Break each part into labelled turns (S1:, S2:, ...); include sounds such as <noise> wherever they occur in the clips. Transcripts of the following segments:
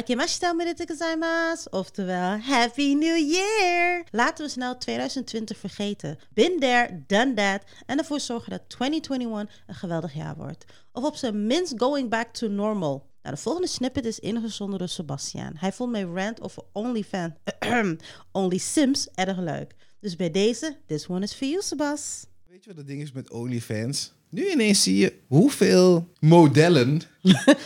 S1: Akimashita omerete gozaimasu. Oftewel, Happy New Year! Laten we snel 2020 vergeten. Been there, done that. En ervoor zorgen dat 2021 een geweldig jaar wordt. Of op zijn minst going back to normal. Nou, de volgende snippet is ingezonden door Sebastian. Hij vond mijn rant over OnlyFans, <clears throat> Only Sims erg leuk. Dus bij deze, this one is for you, Sebas.
S2: Weet je wat het ding is met OnlyFans? Nu ineens zie je hoeveel
S1: <laughs>
S2: modellen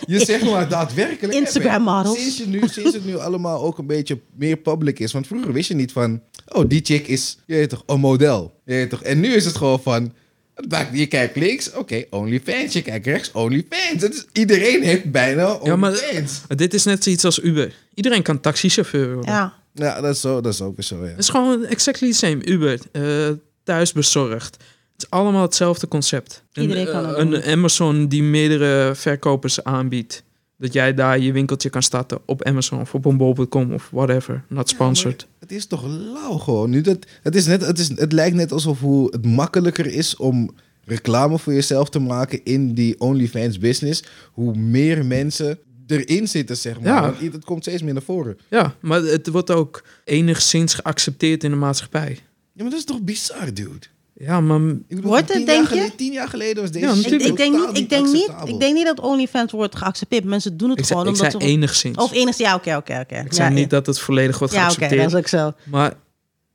S2: je zeg maar daadwerkelijk
S1: Instagram
S2: hebt, hè.
S1: models.
S2: Sinds, je nu, sinds het nu allemaal ook een beetje meer public is. Want vroeger wist je niet van, oh die chick is, je weet toch, een model. Je weet toch, en nu is het gewoon van, het maakt- je kijkt links, oké, OnlyFans. Je kijkt rechts, OnlyFans. Het is, iedereen heeft bijna
S3: Ja, maar-
S2: OnlyFans. Ja,
S3: Dit is net zoiets als Uber. Iedereen kan taxichauffeur worden.
S1: Ja.
S2: dat, is zo, dat is ook weer zo, ja.
S3: Het is gewoon exactly the same. Uber, eh thuis bezorgd. Het is allemaal hetzelfde concept.
S1: Iedereen
S3: een,
S1: kan het
S3: eh,
S1: doen.
S3: Een Amazon die meerdere verkopers aanbiedt. Dat jij daar je winkeltje kan starten op Amazon of op een bol.com of whatever. Not sponsored.
S2: Het is toch lauw gewoon. Nu dat, het, is net, het, is, het lijkt net alsof hoe het makkelijker is om reclame voor jezelf te maken in die OnlyFans business. Hoe meer mensen erin zitten, zeg maar.
S3: Ja.
S2: Want i- dat komt steeds meer naar voren.
S3: Ja, maar het wordt ook enigszins geaccepteerd in de maatschappij.
S2: Ja, maar dat is toch bizar, dude?
S3: Ja, maar
S2: Ik
S1: Wordt het,
S2: tien
S1: denk
S2: jaar
S1: je?
S2: geleden- tien jaar geleden was deze
S3: Ja,
S2: shit
S1: Ik, ik, denk
S2: totaal
S1: niet, ik, denk niet,
S2: acceptabel.
S1: ik denk niet dat OnlyFans wordt geaccepteerd. Mensen doen het
S3: ik
S1: gewoon
S3: zei, ik
S1: omdat
S3: zei
S1: ze...
S3: enigszins.
S1: Of enigszins, ja, oké, oké, oké.
S3: ik zei
S1: ja,
S3: niet dat het volledig wordt
S1: Ja, oké,
S3: geaccepteerd.
S1: dat is ook zo.
S3: Maar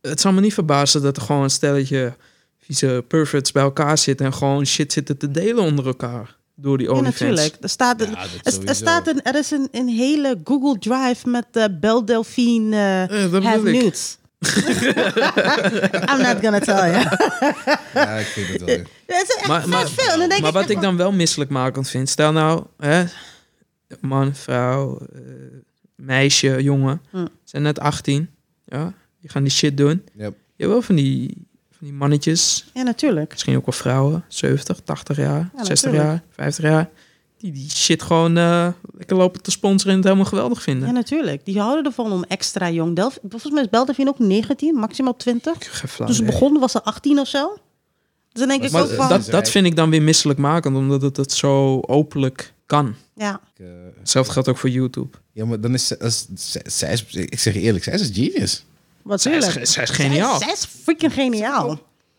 S3: het zal me niet verbazen dat er gewoon een stelletje vieze perfects bij elkaar zitten en gewoon shit zitten te delen onder elkaar door die
S1: Ja,
S3: OnlyFans.
S1: natuurlijk. Er staat een,
S2: Ja, dat
S1: er- er,
S2: sowieso.
S1: staat een, er is een, een hele Google Drive met eh Belle Delphine eh,
S3: Eh, dat
S1: have
S3: bedoel ik. <laughs>
S1: nudes. I'm not gonna tell you. <laughs>
S2: Ja, ik vind het wel.
S1: Dat is echt
S3: Maar-
S1: vet
S3: maar-
S1: veel. En dan denk
S3: Maar
S1: ik
S3: wat ik dan wel misselijkmakend vind, stel nou, hè, man, vrouw, eh, meisje, jongen,
S1: Hm.
S3: zijn net 18, ja, die gaan die shit doen.
S2: Ja.
S3: Je hebt wel van die, van die mannetjes,
S1: Ja, natuurlijk.
S3: misschien ook wel vrouwen, 70, 80 jaar,
S1: Ja,
S3: 60
S1: natuurlijk.
S3: jaar, 50 jaar, die die shit gewoon eh, lekker lopen te sponsoren en het helemaal geweldig vinden.
S1: Ja, natuurlijk. Die houden ervan om extra jong. Delf, volgens mij is Belle Delphine ook 19, maximaal 20.
S3: Ik heb geen flauw
S1: Toen ze
S3: idee.
S1: begonnen was ze 18 of zo. Dus dan denk ik
S2: Maar
S1: ook
S2: dat-
S1: van...
S3: Oh, Dat, dat vind ik dan weer misselijkmakend, omdat het, het zo openlijk kan.
S1: ja.
S2: Ik, eh,
S3: Hetzelfde geldt ook voor YouTube.
S2: Ja, maar dan is ze- als- zij, zij is, ik zeg je eerlijk, zij is een genius.
S1: Wat
S3: Zij is,
S1: tuurlijk.
S3: ge- zij is
S1: Zij-
S3: geniaal.
S1: Zij is freaking geniaal.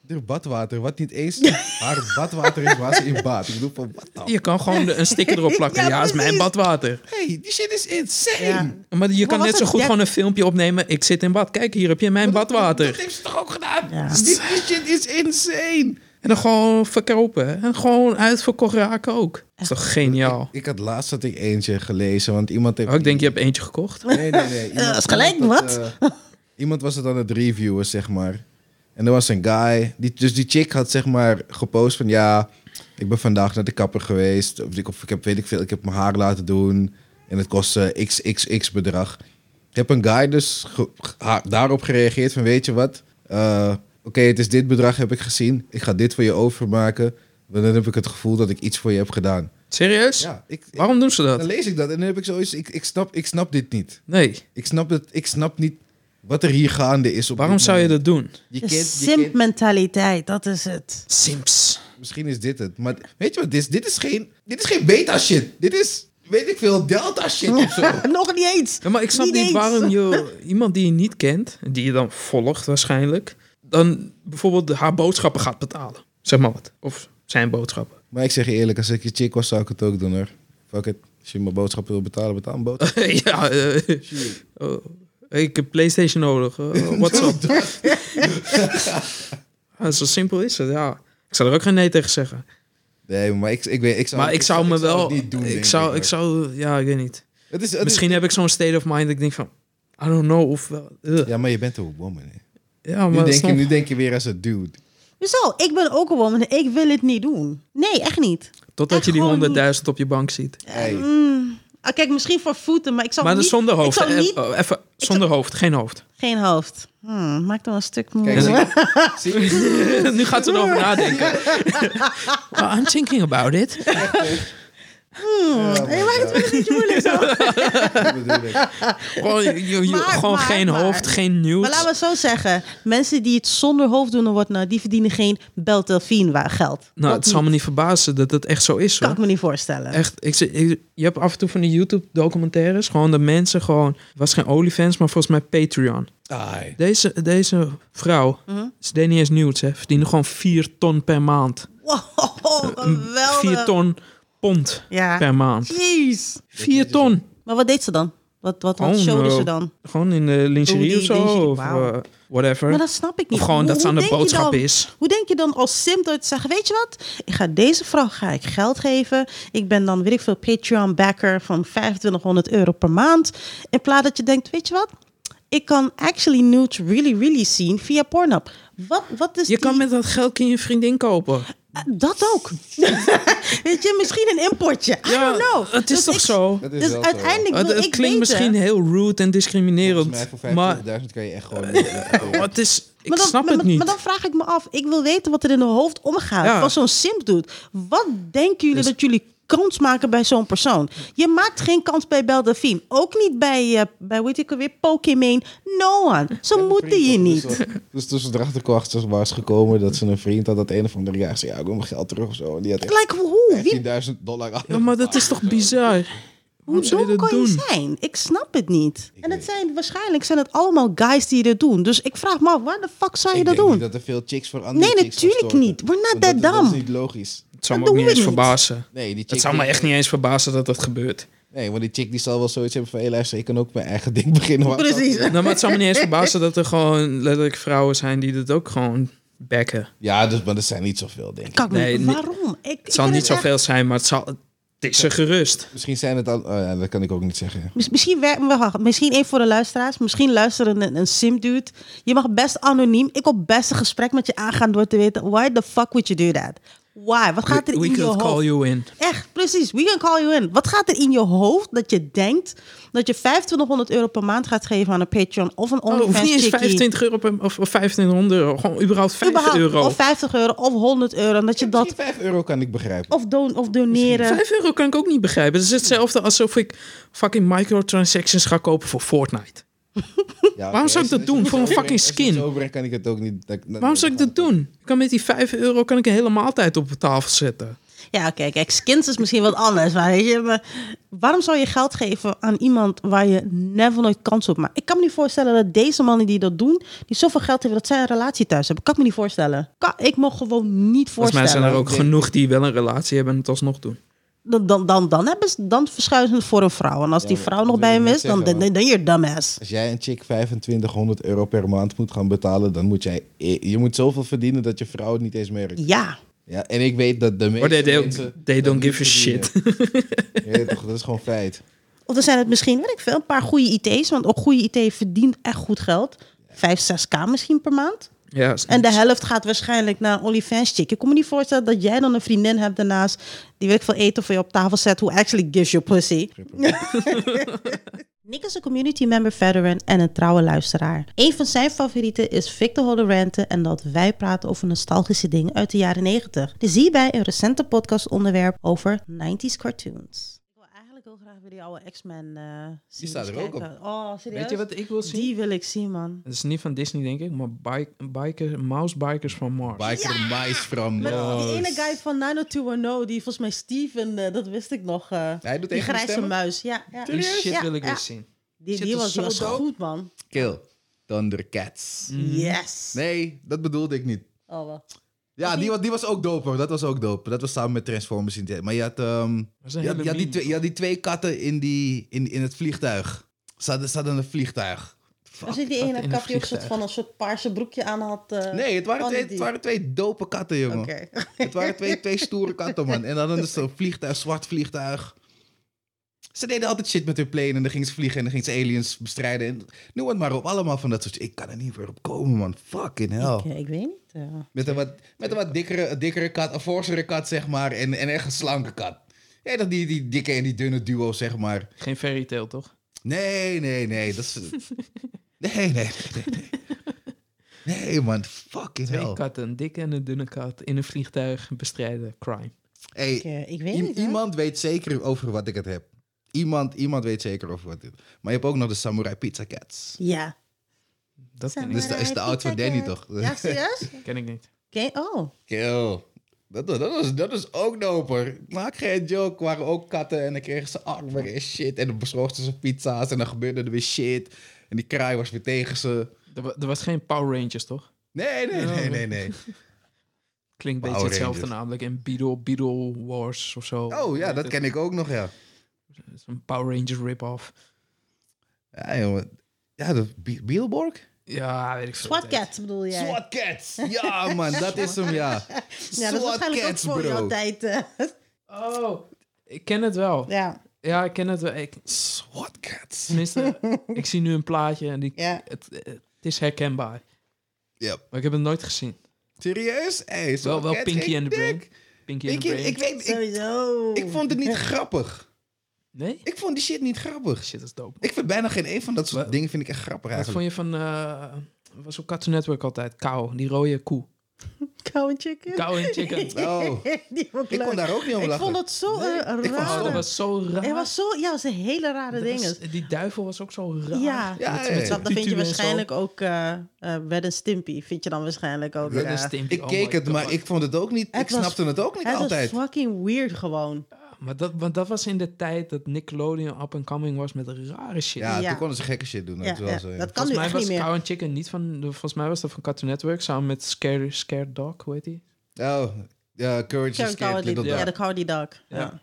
S2: Haar badwater, wat niet
S1: <laughs>
S2: eens haar badwater is waar ze in baat. Ik bedoel van, wat dan?
S3: Je kan gewoon de- een sticker erop plakken.
S2: Ja,
S3: <laughs> Ja, is mijn
S2: precies.
S3: badwater.
S2: Hey, die shit is insane.
S1: Ja.
S3: Maar je kan
S1: was
S3: net zo
S1: het
S3: goed
S1: dek-
S3: gewoon een filmpje opnemen. Ik zit in bad. Kijk, hier heb je mijn
S2: Dat
S3: badwater.
S2: heeft ze toch ook gedaan?
S1: Ja.
S2: Die, die shit is insane.
S3: En dan gewoon verkopen. hè. En gewoon uitverkocht raken ook. Dat is toch geniaal.
S2: Ik had laatst had ik eentje gelezen, want iemand heeft...
S3: Oh, ik denk, je hebt eentje gekocht.
S2: Nee, nee, nee. Iemand,
S1: dat is gelijk,
S2: iemand had, eh, iemand was het aan het reviewen, zeg maar. En er was een guy, die, dus die chick had zeg maar gepost van... Ja, ik ben vandaag naar de kapper geweest. Of ik, of ik heb, weet ik veel, ik heb mijn haar laten doen. En het kostte xxx bedrag. Ik heb een guy dus ge- ge- ha- daarop gereageerd van weet je wat? Eh, Oké, het is dit bedrag heb ik gezien. Ik ga dit voor je overmaken. Want dan heb ik het gevoel dat ik iets voor je heb gedaan.
S3: Serieus?
S2: Ja, ik, ik-
S3: Waarom doen ze
S2: dan
S3: dat?
S2: lees ik dat en dan heb ik zoiets... Ik, ik, snap, ik snap dit niet.
S3: Nee.
S2: Ik snap, het, ik snap niet wat er hier gaande is. Op
S3: Waarom
S2: dit
S3: zou je
S2: moment.
S3: dat doen?
S2: Je
S1: De
S2: kent, je kent-
S1: Simp-mentaliteit, dat is het.
S3: Sims.
S2: misschien is dit het. Maar weet je wat dit is? Dit is geen, dit is geen beta shit. Dit is, weet ik veel, delta shit of
S1: Oh.
S2: zo.
S1: <laughs> Nog niet eens.
S3: Ja, maar ik snap
S1: Niet
S3: niet,
S1: eens.
S3: waarom je iemand die je niet kent, die je dan volgt waarschijnlijk, dan bijvoorbeeld haar boodschappen gaat betalen. Zeg maar wat. Of zijn boodschappen. <laughs>
S2: maar ik zeg je eerlijk, als ik je chick was, zou ik het ook doen hoor. Fuck it. Als je mijn boodschappen wil betalen, betaal een boodschap.
S3: ja, eh, oh, ik heb PlayStation nodig. Eh, what's up?
S2: <laughs>
S3: Ja, zo simpel is het, ja. Ik zou er ook geen nee tegen zeggen.
S2: Nee, maar ik, ik, weet, ik zou
S3: maar ik zou me wel.
S2: het niet doen,
S3: ik,
S2: denk
S3: zou,
S2: hoor.
S3: ik zou. Ja, ik weet niet.
S2: Het is, het is-
S3: Misschien heb ik zo'n state of mind dat ik denk van. I don't know of wel. eh.
S2: Ja, maar je bent een woman. Hè.
S3: Ja,
S2: Nu,
S3: maar.
S2: denk je,
S3: snap-
S2: nu denk je weer als een dude.
S1: Zo, ik ben ook een woman. Ik wil het niet doen. Nee, echt niet.
S3: Totdat
S1: echt
S3: je
S1: gewoon niet.
S3: die 100.000 op je bank ziet.
S2: Hey.
S1: Mm. Ah, kijk, misschien voor voeten, maar ik zou
S3: Maar
S1: niet...
S3: dus zonder hoofd.
S1: Ik zou
S3: eh,
S1: niet...
S3: oh, Even, zonder hoofd, geen hoofd. <laughs>
S1: Geen hoofd. Hmm, maakt dan een stuk
S2: Kijk,
S1: moeilijker.
S2: zie-
S1: <laughs>
S2: zie je?
S3: nu gaat ze erover nadenken. well, I'm thinking about it.
S1: Hmm, je maakt het wel een beetje moeilijk
S2: <laughs>
S1: zo.
S2: Dat bedoel ik.
S3: Gewoon, je- je- je-
S1: Maar,
S3: gewoon
S1: maar,
S3: geen
S1: maar.
S3: hoofd, geen nieuws.
S1: Maar laten we het zo zeggen. Mensen die het zonder hoofddoener wordt, nou, die verdienen geen Beltelfien wa- geld.
S3: nou,
S1: Dat
S3: het zal me niet verbazen dat dat echt zo is.
S1: kan
S3: Hoor.
S1: ik me niet voorstellen.
S3: Echt, ik, zie- ik- je hebt af en toe van die YouTube-documentaires. Gewoon de mensen gewoon... Het was geen OnlyFans, maar volgens mij Patreon.
S2: Ai.
S3: Deze, deze vrouw,
S1: Mhm.
S3: ze deed niet eens nieuws, hè. Verdiende gewoon 4 ton per maand.
S1: Wow, geweldig.
S3: 4 ton pond
S1: eh, Ja.
S3: per maand.
S1: Jeez.
S3: 4 ton.
S1: Maar wat deed ze dan? Wat, wat, wat
S3: Oh,
S1: showde
S3: no.
S1: ze dan?
S3: Gewoon in de lingerie
S1: die
S3: of zo.
S1: lingerie,
S3: Of
S1: wauw.
S3: eh, whatever.
S1: Maar dat snap ik niet.
S3: of gewoon
S1: Hoe-
S3: dat ze
S1: hoe
S3: aan de
S1: denk je
S3: boodschap
S1: dan-
S3: is.
S1: Hoe denk je dan als sim door te zeggen, weet je wat? Ik ga deze vrouw ga ik geld geven. Ik ben dan, weet ik veel, Patreon-backer van 2500 euro per maand. In plaats dat je denkt, weet je wat? Ik kan actually nudes really, really zien via Pornhub. Wat, wat is
S3: Je
S1: die-
S3: kan met dat geld kun je een vriendin kopen.
S1: Eh, Dat ook. <laughs> weet je, misschien een importje. I don't know.
S3: Het is
S1: Dus
S3: toch
S1: ik-
S3: zo?
S2: Dat is
S1: Dus
S2: wel zo.
S1: uiteindelijk wil
S3: Het, het
S1: ik
S3: klinkt
S1: weten-
S3: misschien heel rude en
S2: Volgens
S3: discriminerend.
S2: mij voor
S3: Maar
S2: 50.000 kan je echt
S3: <laughs>
S2: gewoon...
S3: oh, het is, ik
S1: Maar dan-
S3: snap
S1: maar-
S3: het
S1: maar-
S3: niet.
S1: Maar dan vraag ik me af, ik wil weten wat er in hun hoofd omgaat.
S3: Ja.
S1: Wat zo'n simp doet. Wat denken jullie
S3: Dus-
S1: dat jullie kans maken bij zo'n persoon? Je maakt geen kans bij Beldafim. Ook niet bij, eh, bij weet ik alweer, Pokémon. No one. Zo moeten je niet.
S2: Dus toen ze erachter kwam, zeg maar, is gekomen dat ze een vriend had dat een of andere jaar zei, ja, ik wil mijn geld terug of zo. En die had echt
S1: Like, hoe? Wie,
S2: 10.000 dollar aan.
S3: Ja, maar dat is toch bizar?
S1: hoe
S3: Waarom zou je
S1: dom
S3: dat
S1: kan je
S3: doen?
S1: zijn? Ik snap het niet. en het zijn, waarschijnlijk zijn het allemaal guys die dit doen. Dus ik vraag me af, waar de fuck zou je
S2: Ik
S1: dat
S2: denk
S1: doen?
S2: niet dat er veel chicks voor andere
S1: Nee,
S2: chicks
S1: natuurlijk
S2: gaan storten.
S1: niet. We're not
S2: Want
S1: that
S2: dat, dat
S1: dumb.
S2: is niet logisch.
S3: Het zou me
S1: Dat
S3: ook
S1: doen
S3: niet
S1: we
S3: eens
S1: niet.
S3: verbazen.
S2: Nee, die chick
S3: Het zou me
S2: die-
S3: echt niet eens verbazen dat dat gebeurt.
S2: Nee, want die chick die zal wel zoiets hebben van... Hé, luister, ik kan ook mijn eigen ding <laughs> beginnen. maar-
S1: Precies.
S3: Nou, maar het zou me niet eens verbazen dat er gewoon letterlijk vrouwen zijn die dat ook gewoon bekken.
S2: Ja, dus, maar er zijn niet zoveel, denk ik.
S1: Kan ik me-
S3: Nee, nee.
S1: waarom? Ik, ik
S3: Het zal
S1: vind
S3: niet
S1: echt-
S3: zoveel zijn, maar het, zal, het is er gerust.
S2: Misschien zijn het al... oh ja, dat kan ik ook niet zeggen.
S1: Miss- Misschien, werken we, wacht, misschien één voor de luisteraars. Misschien luisteren een, een simdude. Je mag best anoniem. Ik wil best een gesprek met je aangaan door te weten... Why the fuck would you do that? Why? Wat gaat er
S3: We, we
S1: in je
S3: could
S1: hoofd?
S3: call you in.
S1: Echt, precies. We can call you in. Wat gaat er in je hoofd dat je denkt... dat je 2500 euro per maand gaat geven aan een Patreon of een
S3: Oh, hoeft
S1: OnlyFans
S3: niet eens
S1: chickie?
S3: 25 euro per- of, of 2500 euro. Gewoon überhaupt 5
S1: Überhaupt,
S3: euro.
S1: Of 50 euro of 100 euro. En dat je dat...
S2: Misschien 5 euro kan ik begrijpen.
S1: Of, don, of doneren.
S3: 5 euro kan ik ook niet begrijpen. Het is hetzelfde alsof ik fucking microtransactions ga kopen voor Fortnite.
S2: Ja,
S3: Waarom zou ik dat doen? Voor een fucking skin.
S2: Over kan ik het ook niet... dat-
S3: Waarom zou ik dat doen? Ik kan met die 5 euro kan ik een hele maaltijd op de tafel zetten.
S1: Ja, oké, kijk, skins is misschien wat anders. Maar, weet je, maar waarom zou je geld geven aan iemand waar je never nooit kans op maakt? Ik kan me niet voorstellen dat deze mannen die dat doen, die zoveel geld hebben, dat zij een relatie thuis hebben. Kan ik me niet voorstellen. Kan, ik me gewoon niet
S3: Volgens
S1: voorstellen.
S3: mij zijn er ook
S2: Ja.
S3: genoeg die wel een relatie hebben en het alsnog doen.
S1: dan, dan, dan, dan, hebben ze, dan verschuiven ze het voor een vrouw. En als die
S2: maar
S1: vrouw
S2: dat
S1: nog
S2: wil
S1: bij
S2: ik
S1: hem
S2: net
S1: is, dan
S2: zeggen,
S1: dan- dan je dumbass.
S2: Als jij een chick 2500 euro per maand moet gaan betalen, dan moet jij... e- Je moet zoveel verdienen dat je vrouw het niet eens merkt.
S1: Ja,
S2: Ja, en ik weet dat de meeste
S3: Maar they, they-
S2: mensen...
S3: they
S2: dat
S3: don't
S2: niet
S3: give a
S2: verdienen. <laughs>
S3: shit.
S2: Ja, toch, dat is gewoon feit.
S1: of er zijn het misschien, weet ik veel, een paar goede IT's. Want ook goede IT verdient echt goed geld. 5, 6k misschien per maand.
S3: Ja, is
S1: En de
S3: niks.
S1: helft gaat waarschijnlijk naar een OnlyFans chick. Ik kon me niet voorstellen dat jij dan een vriendin hebt daarnaast... die weet ik veel eten voor je op tafel zet... who actually gives you pussy. <laughs> Nick is een community member veteran en een trouwe luisteraar. Een van zijn favorieten is Victor Hodorante en dat wij praten over nostalgische dingen uit de jaren 90. Dus hierbij een recente podcastonderwerp over 90s cartoons. Ik wil eigenlijk heel graag weer die oude X-Men eh zien.
S2: staat er ook op.
S1: Oh, serieus?
S3: Weet je wat ik wil zien?
S1: Die wil ik zien, man.
S3: Het is niet van Disney, denk ik, maar bike, biker, mousebikers van Mars.
S2: Biker mice from
S1: Met die
S2: Mars.
S1: ene guy van 90210, oh, die volgens mij Steven, eh, dat wist ik nog. eh,
S2: Hij doet
S1: die
S2: tegen hem
S1: grijze
S2: stemmen?
S1: muis. Ja, ja.
S3: Die shit
S1: Ja,
S3: wil ik
S1: ja.
S2: dus
S3: weer zien.
S1: Die,
S3: Shit
S1: die
S3: was
S1: was, die
S3: zo
S1: was
S3: dope.
S1: goed, man.
S2: Kill. Thundercats.
S1: Yes.
S2: Mm. Nee, dat bedoelde ik niet.
S1: Oh, wel.
S2: Ja, die, wa- die was ook dope hoor. Dat was ook dope. Dat was samen met Transformers. in die- Maar je had, ehm,
S3: is
S2: je
S3: een
S2: had,
S3: hele
S2: je had die,
S3: meme.
S2: twee, je had die twee katten in, die, in, in het vliegtuig. Ze hadden, ze hadden een vliegtuig. Fuck.
S1: Was dit die
S3: zat
S1: ene
S3: in een
S1: kat die ook soort
S3: vliegtuig.
S1: van een soort paarse broekje aan had? eh,
S2: Nee, het waren,
S1: van
S2: twee,
S1: die-
S2: het waren twee dope katten, jongen.
S1: Oké.
S2: <laughs> Het waren twee, twee stoere katten, man. En
S1: <laughs>
S2: dan hadden ze een vliegtuig, zwart vliegtuig. Ze deden altijd shit met hun plane en dan gingen ze vliegen en dan gingen ze aliens bestrijden. En noem het maar op, allemaal van dat soort Ik kan er niet meer op komen, man. Fucking
S1: <laughs>
S2: hell.
S1: Ik, eh, ik weet niet. eh.
S2: Met een wat, met een wat dikkere, een dikkere kat, een forsere kat, zeg maar. En, en echt een slanke kat. Ja, dat die, die dikke en die dunne duo, zeg maar.
S3: Geen fairy tale, toch?
S2: Nee, nee, nee. Dat is...
S1: <laughs>
S2: Nee, nee, nee. Nee, nee. Nee, man. Fucking
S3: Twee
S2: hell.
S3: katten, een dikke en een dunne kat, in een vliegtuig bestrijden crime.
S2: Hey,
S1: Ik, eh, ik weet
S2: i-
S1: niet, hoor.
S2: iemand weet zeker over wat ik het heb. Iemand, iemand weet zeker over wat dit. Maar je hebt ook nog de Samurai Pizza Cats.
S1: Ja.
S3: Dat ken ik,
S1: Samurai
S3: niet.
S2: Dus dat is de oud van
S1: Pizza
S2: Danny,
S1: Cat.
S2: toch?
S1: Ja,
S2: <laughs>
S1: serieus?
S3: ken ik niet.
S1: Oké, oh.
S2: Kill. Dat, was- dat, was, dat is ook doper. Maak geen joke. Waren ook katten en dan kregen ze armen en shit. En dan bezorgden ze pizza's en dan gebeurde er weer shit. En die kraai was weer tegen ze.
S3: Er, wa- er was geen Power Rangers, toch?
S2: Nee, nee,
S3: Ja,
S1: Oh.
S2: nee,
S3: maar-
S2: nee, nee.
S3: Klinkt een beetje
S2: Power
S3: hetzelfde
S2: Rangers.
S3: namelijk. En Beetle, Beetle Wars of zo.
S2: Oh ja, dat ken ik ook nog, ja.
S3: is een Power Rangers rip-off.
S2: Ja, jongen. Ja, de Be- Beetleborg?
S3: Ja, weet ik veel.
S1: SWAT Cat bedoel jij?
S2: SWAT Cats. Ja, man, dat is hem, ja.
S1: ja, dat is
S2: SWAT
S1: waarschijnlijk
S2: Cats,
S1: ook voor jouw
S2: bro.
S1: tijd. eh, <laughs>
S3: Oh, ik ken het wel.
S1: ja.
S3: Ja, ik ken het wel. Ik,
S2: SWAT Cats.
S3: tenminste, ik zie nu een plaatje en die,
S1: Ja.
S3: het, het is herkenbaar.
S2: Ja.
S3: Maar ik heb het nooit gezien.
S2: Serieus? Hey,
S3: Wel,
S2: SWAT
S3: wel
S2: Cats,
S3: Pinky
S2: geen
S3: and the Brain.
S2: dik.
S3: Pinky and
S2: Pinky,
S3: the Brain.
S2: ik weet... Ik,
S1: Sowieso.
S2: ik vond het niet grappig.
S3: Nee?
S2: Ik vond die shit niet grappig.
S3: Shit, dat is dope.
S2: Ik vind bijna geen een van dat soort
S3: Wat?
S2: dingen vind ik echt grappig
S3: Wat
S2: eigenlijk.
S3: vond je van... eh was op Cartoon Network altijd. Kou, die rode koe.
S1: Cow and Chicken.
S3: Kou en chicken.
S2: Oh,
S1: <laughs> Die vond
S2: ik
S1: leuk.
S2: kon daar ook niet om
S1: Ik
S2: lachen.
S1: vond het zo eh, raar.
S2: vond het
S3: Oh, dat was zo raar.
S1: Het was zo, ja, het was een hele rare
S3: Dat
S1: dingen.
S3: was- die duivel was ook zo
S1: Ja.
S3: raar.
S2: Ja,
S3: Met-
S2: ja,
S3: met
S2: ja.
S3: zo'n
S1: Dat vind
S3: tutu
S1: je
S3: en zo.
S1: waarschijnlijk ook eh eh Red and Stimpy. Vind je dan waarschijnlijk ook.
S3: Ren en
S1: eh,
S3: Stimpy,
S2: dus Ik
S3: oh
S2: keek
S3: my
S2: het, maar
S3: God.
S2: ik vond het ook niet...
S1: Het
S2: ik
S1: was-
S2: snapte het ook niet
S1: Het was
S2: altijd.
S1: fucking weird gewoon.
S3: Maar dat, want dat was in de tijd dat Nickelodeon up and coming was met rare shit.
S2: Ja,
S1: Ja.
S2: toen konden ze gekke shit doen.
S1: Ja,
S2: dat eh, is wel
S1: ja,
S2: zo, ja.
S1: Dat kan nu
S3: Volgens mij
S1: echt niet
S3: was
S1: meer.
S3: Cow and Chicken niet van... Volgens mij was dat van Cartoon Network samen met Scared, Scared Dog, hoe heet die?
S2: Oh, ja, Courage the
S1: Cow-
S2: Scared
S1: Cowardly
S2: Little
S1: Dog. Ja,
S2: Dog.
S1: de Cowardly Dog. Ja.
S3: Ja.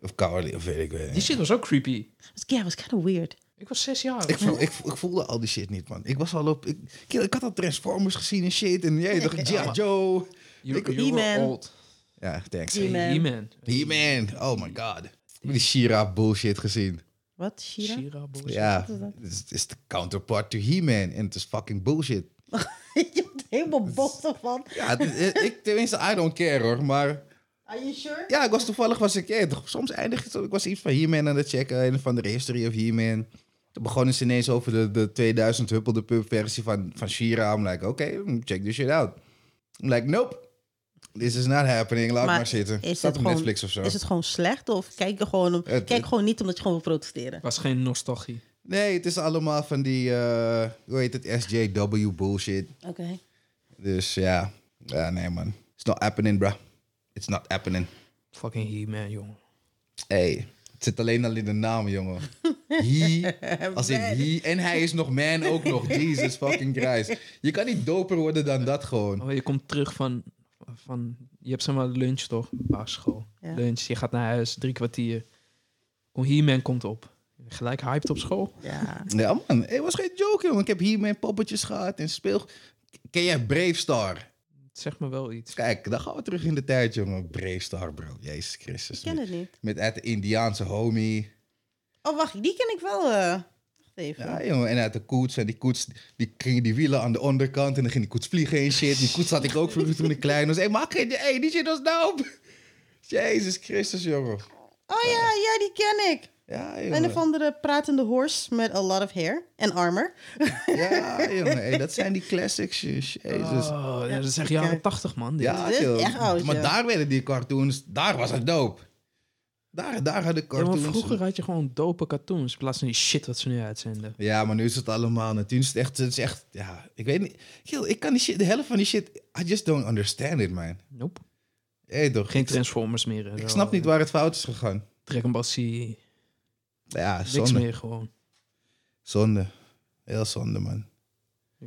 S2: Of Cowardly, of weet ik weet
S3: Die
S2: niet.
S3: shit was ook creepy.
S1: Dus Ja, was kind of weird.
S3: Ik was zes jaar.
S2: Ik, voel, ik, voel- ik voelde al die shit niet, man. Ik was al op... Ik, ik- ik had al Transformers gezien en shit. En jij dacht, ja, Joe.
S3: You,
S2: ik-
S3: you were
S1: He-Man.
S3: old.
S2: Ja, thanks.
S1: Die- He-Man.
S3: He-Man.
S2: He-Man. Oh my god. Ik heb die Shira bullshit gezien.
S1: Wat, Shira?
S3: Shira, bullshit.
S2: Ja, het is- het is de counterpart to He-Man. En het is fucking bullshit.
S1: <laughs> je wordt helemaal bot van.
S2: Ja, het
S1: <laughs>
S2: is- ik, tenminste, I don't care hoor. Maar
S1: Are you sure?
S2: ja, ik was toevallig, was ik, ja, toch, soms eindig ik, ik was iets van He-Man aan het checken. En van de history of He-Man. Toen begonnen ze ineens over de, de 2000 Huppel de Pup versie van, van She-Ra. I'm like, oké, check this shit out. I'm like, nope. This is not happening. Laat maar, zitten.
S1: Is
S2: Staat
S1: het
S2: op
S1: gewoon,
S2: Netflix of zo.
S1: Is het gewoon slecht of kijk je gewoon, om-
S2: Het-
S1: kijk gewoon niet omdat je gewoon wil protesteren?
S3: was geen nostalgie.
S2: Nee, het is allemaal van die, eh, hoe heet het, SJW bullshit.
S1: Oké.
S2: Dus ja, ja nee man. It's not happening, bruh. It's not happening.
S3: Fucking He-Man, jongen.
S2: Hey, het zit alleen al in de naam, jongen.
S1: <laughs>
S2: He, als in
S1: Man.
S2: he. En hij is nog man ook nog.
S1: <laughs>
S2: Jesus fucking Christ. Je kan niet doper worden dan dat gewoon.
S3: Oh, je komt terug van, van... Je hebt zeg maar lunch, toch? Basisschool.
S1: Ja.
S3: Lunch, je gaat naar huis, drie kwartier. Kom, He-Man komt op. Gelijk hyped op school.
S1: Ja.
S2: Ja man, het was geen joke, jongen. Ik heb hier mijn poppetjes gehad en speel... Ken jij Brave Star?
S3: Zeg me wel iets.
S2: Kijk, dan gaan we terug in de tijd, jongen. Brave Star, bro. Jezus Christus.
S1: Ik ken het niet.
S2: Met uit de Indiaanse homie.
S1: Oh, wacht, die ken ik wel. eh. wacht even.
S2: Ja, jongen, en uit de koets. En die koets, die ging die wielen aan de onderkant. En dan ging die koets vliegen en shit. Die koets had ik ook vroeger toen ik klein was. Hé, hey, maak geen... Hé, die shit was dope. Jezus Christus, jongen.
S1: Oh ja, ja, die ken ik.
S2: Ja,
S1: Een of
S2: jongen.
S1: andere pratende horse met a lot of hair en armor.
S2: Ja, jongen. Hey, dat zijn die classics, jezus.
S3: Oh, ja, dat is echt jaren tachtig, man. dit.
S2: Ja,
S1: dit is
S2: joh.
S1: echt oud,
S2: Maar
S1: ja.
S2: daar werden die cartoons... Daar was het dope. Daar, daar hadden
S3: Ja, maar
S2: cartoons...
S3: vroeger had je gewoon dope cartoons. In plaats van die shit wat ze nu uitzenden.
S2: Ja, maar nu is het allemaal natuurlijk. Het is echt, het is echt ja, ik weet niet. Gil, ik kan die shit, de helft van die shit, I just don't understand it, man.
S3: Nope.
S2: Hey, toch?
S3: Geen
S2: ik,
S3: Transformers meer. en eh,
S2: ik
S3: zo.
S2: snap niet waar het fout is gegaan.
S3: Dragon Ball Z. Niks
S2: Ja, zonde.
S3: meer gewoon.
S2: Zonde. Heel zonde, man.
S3: Dan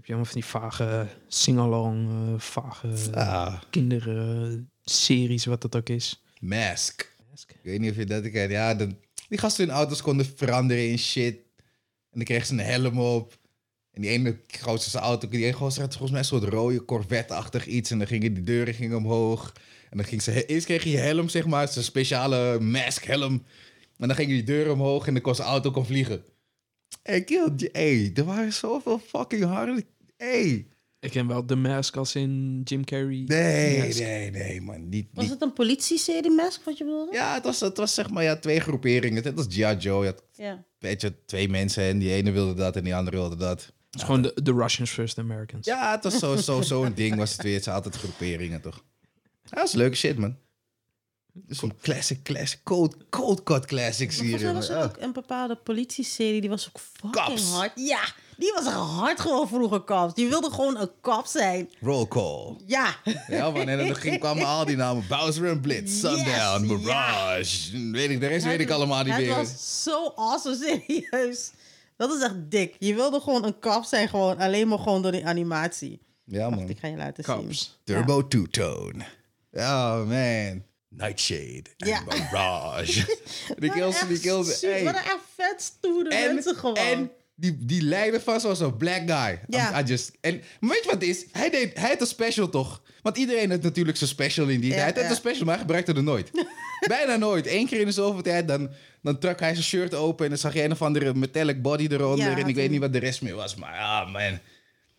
S3: heb je allemaal van die vage sing-along, eh, vage
S2: Ah,
S3: kinderseries, wat dat ook is.
S2: Mask. Ik weet niet of je dat kent. Ja, de, die gasten hun auto's konden veranderen in shit. En dan kreeg ze een helm op. En die ene gozer zijn auto, die ene gozer had volgens mij een soort rode Corvette-achtig iets. En dan gingen die deuren gingen omhoog. En dan ging ze, eerst kreeg je je helm, zeg maar, zijn speciale mask-helm. En dan gingen die deuren omhoog en dan kon zijn auto kon vliegen. Hey, kill, hey, er waren zoveel fucking harde... Hey.
S3: Ik ken wel The Mask als in Jim Carrey.
S2: Nee,
S3: Mask.
S2: nee, nee, man. Niet,
S1: Was
S2: niet.
S1: het een politie-serie mask wat je bedoelde?
S2: Ja, het was, het was zeg maar ja, twee groeperingen. Het was G.I. Joe, je had
S1: Ja.
S2: weet je, twee mensen en die ene wilde dat en die andere wilde dat.
S3: Het is gewoon de, de Russians versus the Americans.
S2: Ja, het was zo'n zo, zo zo'n ding was het weer. Het zijn altijd groeperingen, toch? Ja, dat is leuke shit, man. Dus zo'n classic, classic, cold, cold cut classics hier.
S1: Volgens mij was
S2: jongen.
S1: er
S2: Ah.
S1: ook een bepaalde politieserie, die was ook fucking
S2: Cops.
S1: hard. Ja, die was hard gewoon vroeger cops. Die wilde gewoon een kop zijn.
S2: Roll call.
S1: Ja.
S2: Ja, man, en dan ging, kwamen al die namen. Bowser en Blitz, Sundown,
S1: Yes, ja.
S2: Mirage. Weet ik, de rest weet ik allemaal niet
S1: Het
S2: meer.
S1: was zo awesome, serieus. Dat is echt dik. Je wilde gewoon een kap zijn, gewoon, alleen maar gewoon door die animatie.
S2: Ja,
S1: Wacht,
S2: man.
S1: ik ga je laten zien.
S3: Kaps.
S2: Turbo Two-Tone. Oh, man. Nightshade en
S1: Ja. <laughs>
S2: Mirage. die
S1: Wat een
S2: kills, die
S1: echt
S2: kills.
S1: su-
S2: hey.
S1: Wat een echt vet stoere
S2: En,
S1: mensen gewoon.
S2: en die, die lijden vast was een black guy.
S1: Ja.
S2: I, I just, en maar weet je wat het is? Hij, deed, hij had een special toch? Want iedereen had natuurlijk zijn special in die tijd.
S1: Ja,
S2: Hij had
S1: ja.
S2: een special, maar hij gebruikte er
S1: <laughs>
S2: nooit. Bijna nooit. Eén keer in de zoveel tijd, dan, dan trok hij zijn shirt open... en dan zag je een of andere metallic body eronder.
S1: Ja,
S2: en
S1: had
S2: ik weet
S1: een-
S2: niet wat de rest meer was, maar ah man.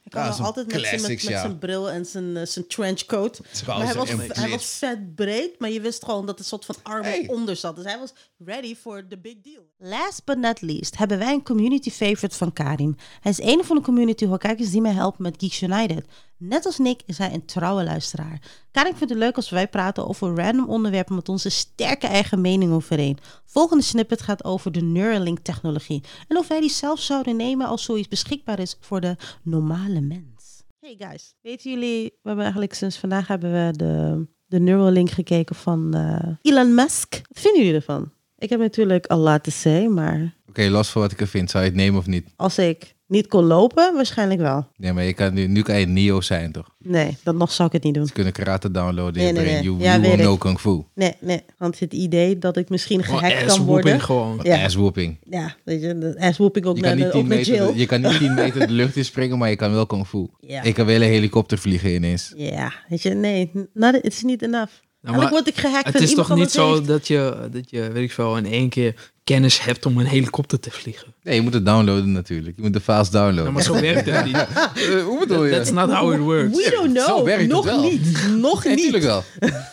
S1: Hij kwam
S2: Ah,
S1: wel
S2: zo'n
S1: altijd met, zijn-
S2: classics,
S1: met, met
S2: ja.
S1: zijn bril en zijn, eh, zijn trenchcoat.
S2: Trouwens,
S1: Maar hij was,
S2: en
S1: hij was
S2: blitz.
S1: vet breed, maar je wist gewoon dat er een soort van arm
S2: Hey.
S1: onder zat. Dus hij was ready for the big deal. Last but not least hebben wij een community favorite van Karim. Hij is een van de community hokkakers die mij helpen met Geeks United. Net als Nick is hij een trouwe luisteraar. Karim vindt het leuk als wij praten over random onderwerpen met onze sterke eigen mening overeen. Volgende snippet gaat over de Neuralink-technologie en of wij die zelf zouden nemen als zoiets beschikbaar is voor de normale mens. Hey guys, weten jullie, we hebben eigenlijk sinds vandaag hebben we de, de Neuralink gekeken van eh, Elon Musk. Wat vinden jullie ervan? Ik heb natuurlijk al laten zeggen, maar
S2: Oké, los van wat ik er vind. Zou je het nemen of niet?
S1: als ik niet kon lopen, waarschijnlijk wel.
S2: Nee, maar je kan nu, nu kan je Neo zijn toch?
S1: Nee, dan nog zou ik het niet doen.
S2: Ze kunnen karate downloaden
S1: Hm. Nee, nee, nee. Ja, weet ik.
S2: kung fu.
S1: Nee, nee, want het idee dat ik misschien
S3: Gewoon
S1: gehackt kan
S3: Oh, ass-whooping
S1: worden.
S3: gewoon.
S1: Ja. eh,
S2: whooping.
S1: Ja, weet je, de ass-whooping ook
S2: Je
S1: naar
S2: kan, niet
S1: de,
S2: 10
S1: ook naar
S2: meter, de-
S1: jail.
S2: je kan
S1: <laughs>
S2: niet 10 meter de lucht in springen, maar je kan wel kung fu.
S1: Ja.
S2: Ik kan wel een helikopter vliegen ineens.
S1: Ja, weet je, nee, not- het is niet enough. Eigenlijk word ik gehackt
S3: Nou, Het
S1: en
S3: is
S1: iemand
S3: toch niet
S1: anders
S3: zo
S1: heeft.
S3: dat je, dat je, weet ik veel, in één keer kennis hebt om een helikopter te vliegen.
S2: Nee, je moet het downloaden natuurlijk. Je moet de files downloaden. <laughs>
S3: Ja, maar zo werkt het niet.
S2: Eh, hoe bedoel
S3: That's not how it works.
S1: We don't
S2: Zo
S1: know,
S2: werkt het
S1: nog
S2: wel.
S1: niet, nog
S2: Nee,
S1: niet.
S2: <laughs> natuurlijk wel.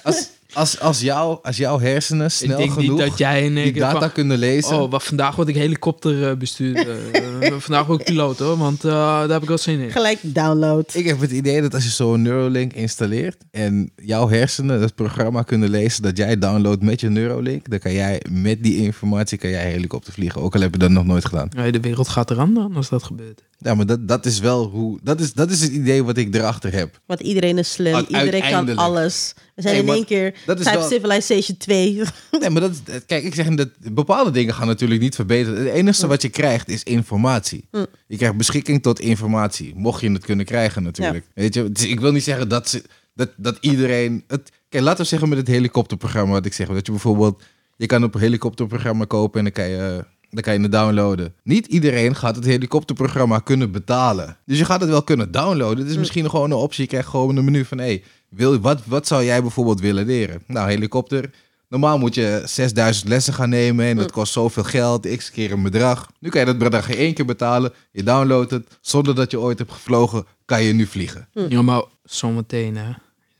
S2: Als, als, als, jou, als jouw hersenen
S3: Ik
S2: snel
S3: denk
S2: genoeg
S3: niet dat jij in één
S2: die
S3: keer
S2: data
S3: van-
S2: kunnen lezen.
S3: Oh, wat vandaag word ik helikopterbestuurder. bestuurd. eh,
S2: <laughs>
S3: vandaag word ik piloot hoor, want eh, daar heb ik wel zin in.
S1: Gelijk download.
S2: Ik heb het idee dat als je zo'n Neuralink installeert en jouw hersenen dat programma kunnen lezen dat jij downloadt met je Neuralink, dan kan jij met die informatie kan jij helikopter vliegen. Ook al heb je dat nog nooit gedaan.
S3: Nee, de wereld gaat eraan dan als dat gebeurt.
S2: Ja, maar dat, dat is wel hoe. Dat is, dat is het idee wat ik erachter heb.
S1: Want iedereen is slim,
S2: Uit-
S1: iedereen kan
S2: uiteindelijk.
S1: alles. We zijn
S2: Nee,
S1: in
S2: maar
S1: één keer
S2: dat is
S1: Type
S2: wel-
S1: Civilization 2.
S2: <laughs> Nee, maar dat, is- dat- kijk, ik zeg dat bepaalde dingen gaan natuurlijk niet verbeteren. Het enige wat je krijgt is informatie. Je krijgt beschikking tot informatie, mocht je het kunnen krijgen natuurlijk. Weet je, dus ik wil niet zeggen dat, ze, dat, dat iedereen... Het, kijk, laten we zeggen met het helikopterprogramma wat ik zeg. Dat je bijvoorbeeld, je kan op een helikopterprogramma kopen en dan kan je... Dan kan je het downloaden. Niet iedereen gaat het helikopterprogramma kunnen betalen. Dus je gaat het wel kunnen downloaden. Het is misschien gewoon een optie. Je krijgt gewoon een menu van... Hey, wil, wat, wat zou jij bijvoorbeeld willen leren? Nou, helikopter. Normaal moet je 6000 lessen gaan nemen en dat kost zoveel geld, x keer een bedrag. Nu kan je dat bedrag in één keer betalen, je downloadt het, zonder dat je ooit hebt gevlogen, kan je nu vliegen.
S1: Hm.
S3: Ja, maar zometeen hè,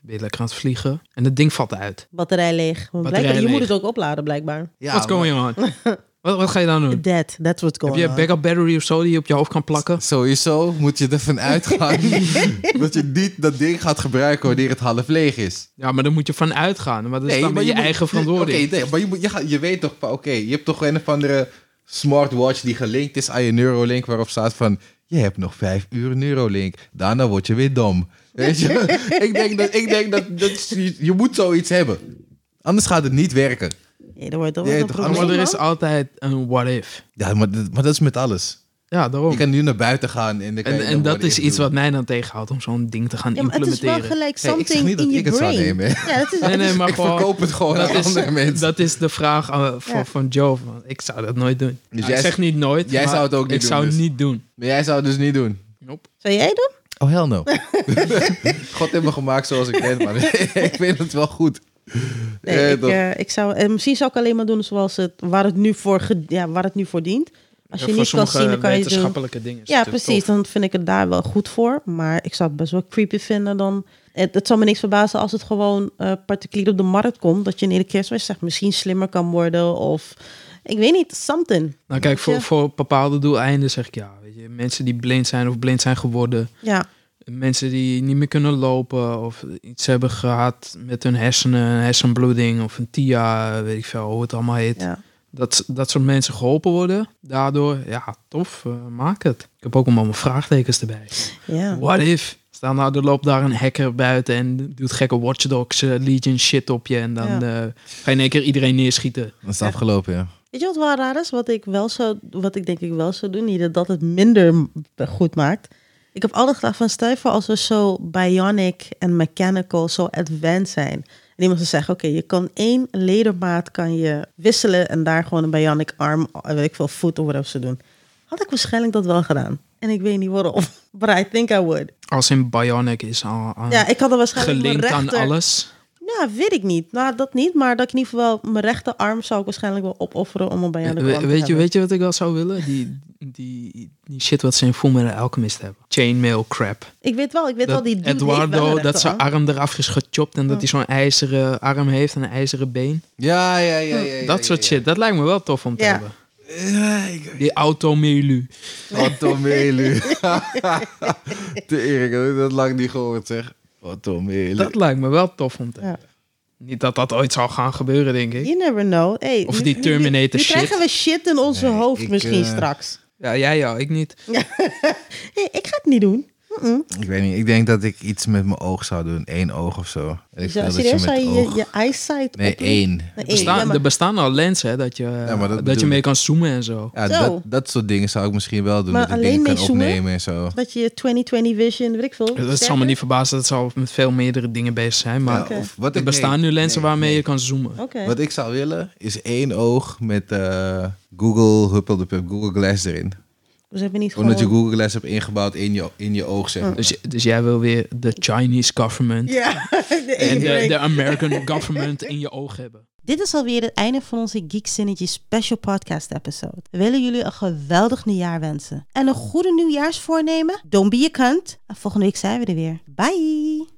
S3: ben je lekker aan het vliegen en het ding valt uit.
S1: <laughs> Batterij leeg. Want blijkbaar- je
S3: leeg.
S1: moet het ook opladen,
S3: Hm.
S1: blijkbaar.
S2: Ja,
S3: what's going
S1: <laughs>
S3: on? wat, wat ga je dan doen?
S1: Dead, that's what's
S3: Heb
S1: going
S3: je
S1: on.
S3: een backup battery of zo die je op je hoofd kan plakken?
S2: Sowieso moet je ervan uitgaan dat je niet dat ding gaat gebruiken wanneer het half leeg is.
S3: Ja, maar dan moet je van uitgaan. Maar dat is Dus dan weer je,
S2: moet-
S1: <laughs>
S3: eigen verantwoording.
S2: Oké, nee, maar je, moet, je, gaat- je weet toch, van, oké, je hebt toch een of andere smartwatch die gelinkt is aan je Neuralink waarop staat van, je hebt nog vijf uur Neuralink, daarna word je weer dom. <laughs> Weet je? ik denk, dat, ik denk dat, dat je, je moet zoiets hebben. Anders gaat het niet werken.
S1: Nee, dat wordt dat
S2: Ja,
S1: wordt een
S2: toch,
S1: probleem,
S3: maar er is
S1: man.
S3: altijd een what if.
S2: Ja, maar, dat- maar dat is met alles.
S3: Ja,
S2: Je
S3: daarom.
S2: kan nu naar buiten gaan en dan kan je
S3: En,
S2: dan
S3: en dat
S2: worden
S3: is iets
S2: ingedoen.
S3: wat mij dan tegenhoudt om zo'n ding te gaan
S1: Ja, maar het is wel
S3: implementeren.
S1: gelijk
S2: Hey, ik zeg
S1: something
S2: niet dat
S1: in je
S2: ik het zou
S1: brain.
S2: nemen, hè.
S1: Ja, dat is...
S3: Nee,
S1: <laughs>
S3: nee, maar
S2: Ik
S3: gewoon,
S2: verkoop het gewoon aan
S3: <laughs> dat is,
S2: andere mensen.
S3: Dat is de vraag eh, van,
S1: Ja.
S3: van Joe. van, ik zou dat nooit doen.
S2: Dus
S3: Ja,
S2: jij-
S3: ik zeg niet nooit.
S2: jij
S3: maar
S2: zou het ook niet
S3: ik
S2: doen,
S3: zou
S2: dus.
S3: het niet doen.
S2: Maar jij zou het dus niet doen.
S3: Nope.
S1: Zou jij doen?
S2: Oh, hell no. <laughs> God heeft me gemaakt zoals ik ben, maar <laughs> ik weet het wel goed.
S1: Nee,
S2: Eh,
S1: ik,
S2: toch?
S1: eh, ik zou, en misschien zou ik alleen maar doen zoals het, waar, het nu voor ge- ja, waar het nu voor dient. Als
S3: Ja,
S1: je
S3: voor
S1: niet kan
S3: sommige
S1: zien, dan kan je het doen.
S3: wetenschappelijke dingen. is
S1: Ja,
S3: het, eh,
S1: precies.
S3: tof.
S1: Dan vind ik het daar wel goed voor. Maar ik zou het best wel creepy vinden dan. Het, het zal me niks verbazen als het gewoon eh, particulier op de markt komt. Dat je in de kerstmis zegt misschien slimmer kan worden. Of ik weet niet, something.
S3: Nou kijk,
S1: Ja.
S3: voor, voor bepaalde doeleinden zeg ik ja. Weet je, mensen die blind zijn of blind zijn geworden.
S1: Ja,
S3: eh, mensen die niet meer kunnen lopen of iets hebben gehad met hun hersenen, een hersenbloeding of een TIA, weet ik veel hoe het allemaal heet.
S1: Ja.
S3: Dat, dat soort mensen geholpen worden. Daardoor, ja, tof, eh, maak het. Ik heb ook allemaal mijn vraagtekens erbij.
S1: ja.
S3: What if? Staan nou, er loopt daar een hacker buiten en doet gekke watchdogs, eh, legion shit op je en dan
S1: Ja.
S3: eh, ga je in één keer iedereen neerschieten.
S2: Dat is afgelopen, ja.
S1: Weet je wat wel raar is? Wat ik, wel zou, wat ik denk ik wel zou doen, niet dat dat het minder m- goed maakt. Ik heb altijd gedacht van, stel je voor als we zo bionic en mechanical, zo advanced zijn. En iemand zou zeggen, oké, je kan één ledemaat kan je wisselen en daar gewoon een bionic arm, eh, weet ik veel, voet of whatever ze doen. Had ik waarschijnlijk dat wel gedaan. En ik weet niet waarom, <laughs> but I think I would.
S3: Als in Bionic is al aan,
S1: Ja, ik had er waarschijnlijk mijn
S3: gelinkt Ah, aan
S1: rechter...
S3: alles.
S1: Nou, weet ik niet. Nou, dat niet, maar dat ik in ieder geval wel... Mijn rechterarm zou ik waarschijnlijk wel opofferen om een bionic arm
S3: We-
S1: te
S3: weet, je,
S1: hebben.
S3: weet je wat ik wel zou willen? Die, die, die shit wat ze in Fullmetal Alchemist hebben. Chainmail crap.
S1: Ik weet wel, ik weet wel,
S3: Dat
S1: die dude heeft wel een
S3: Eduardo, dat zijn
S1: rechterarm.
S3: arm eraf is gechopt en dat hij zo'n ijzeren arm heeft en een ijzeren been.
S2: Ja, ja, ja. ja, ja,
S3: dat
S2: ja,
S3: soort
S2: ja.
S3: shit, dat lijkt me wel tof om te
S1: Ja.
S3: hebben. Die automelu.
S2: Wat een <laughs> melu. De Erik, dat heb ik dat lang niet gehoord, zeg. Wat een melu.
S3: Dat lijkt me wel tof om te
S1: Ja.
S3: hebben. Niet dat dat ooit zal gaan gebeuren, denk ik.
S1: You never know. Hey,
S3: Of
S1: nu-
S3: die
S1: nu- nu
S3: Terminator shit.
S1: krijgen we shit in onze
S2: Nee,
S1: hoofd
S2: ik,
S1: misschien
S2: eh,
S1: straks.
S3: Ja, jij ja, ik niet.
S1: Hey, ik ga het niet doen. Mm-mm.
S2: Ik weet niet, ik denk dat ik iets met mijn oog zou doen. Eén oog of zo. En ik
S1: Zou-
S2: wil dat
S1: serieus, zou
S2: met
S1: je
S2: oog-
S1: je, je eyesight
S2: Nee,
S1: op-
S2: één.
S1: Nee, één.
S3: Bestaan,
S1: Ja, maar-
S3: Er bestaan al lenzen hè, dat je,
S2: maar dat
S3: dat je
S2: bedoel
S3: mee
S2: ik.
S3: kan zoomen en zo.
S2: Ja,
S1: Zo.
S2: dat, dat soort dingen zou ik misschien wel doen.
S1: Maar
S2: dat ik
S1: alleen
S2: dingen kan
S1: mee zoomen?
S2: opnemen en zo.
S1: Dat je 2020 vision, weet ik veel.
S3: Dat
S1: sterker.
S3: zal me niet verbazen, dat zal met veel meerdere dingen bezig zijn. Maar
S2: Ja,
S1: Oké.
S2: of wat
S3: er
S2: ik-
S3: bestaan
S2: nee,
S3: nu lenzen
S2: nee,
S3: waarmee
S2: nee.
S3: je kan zoomen.
S1: Oké.
S2: Wat ik zou willen is één oog met eh, Google Huppeldepup, Google Glass erin.
S1: Dus hebben we niet
S2: Omdat je
S1: gewoon... Hm.
S2: Google Glass hebt ingebouwd in je, in je oog, zeg maar.
S3: Dus, j- dus jij wil weer de Chinese government
S1: Ja. <laughs> de
S3: en
S1: één
S3: de,
S1: break.
S3: de American government in je oog hebben.
S1: Dit is alweer het einde van onze Geekzinnetje special podcast episode. We willen jullie een geweldig nieuwjaar wensen. En een goede nieuwjaarsvoornemen. Don't be a cunt. En volgende week zijn we er weer. Bye!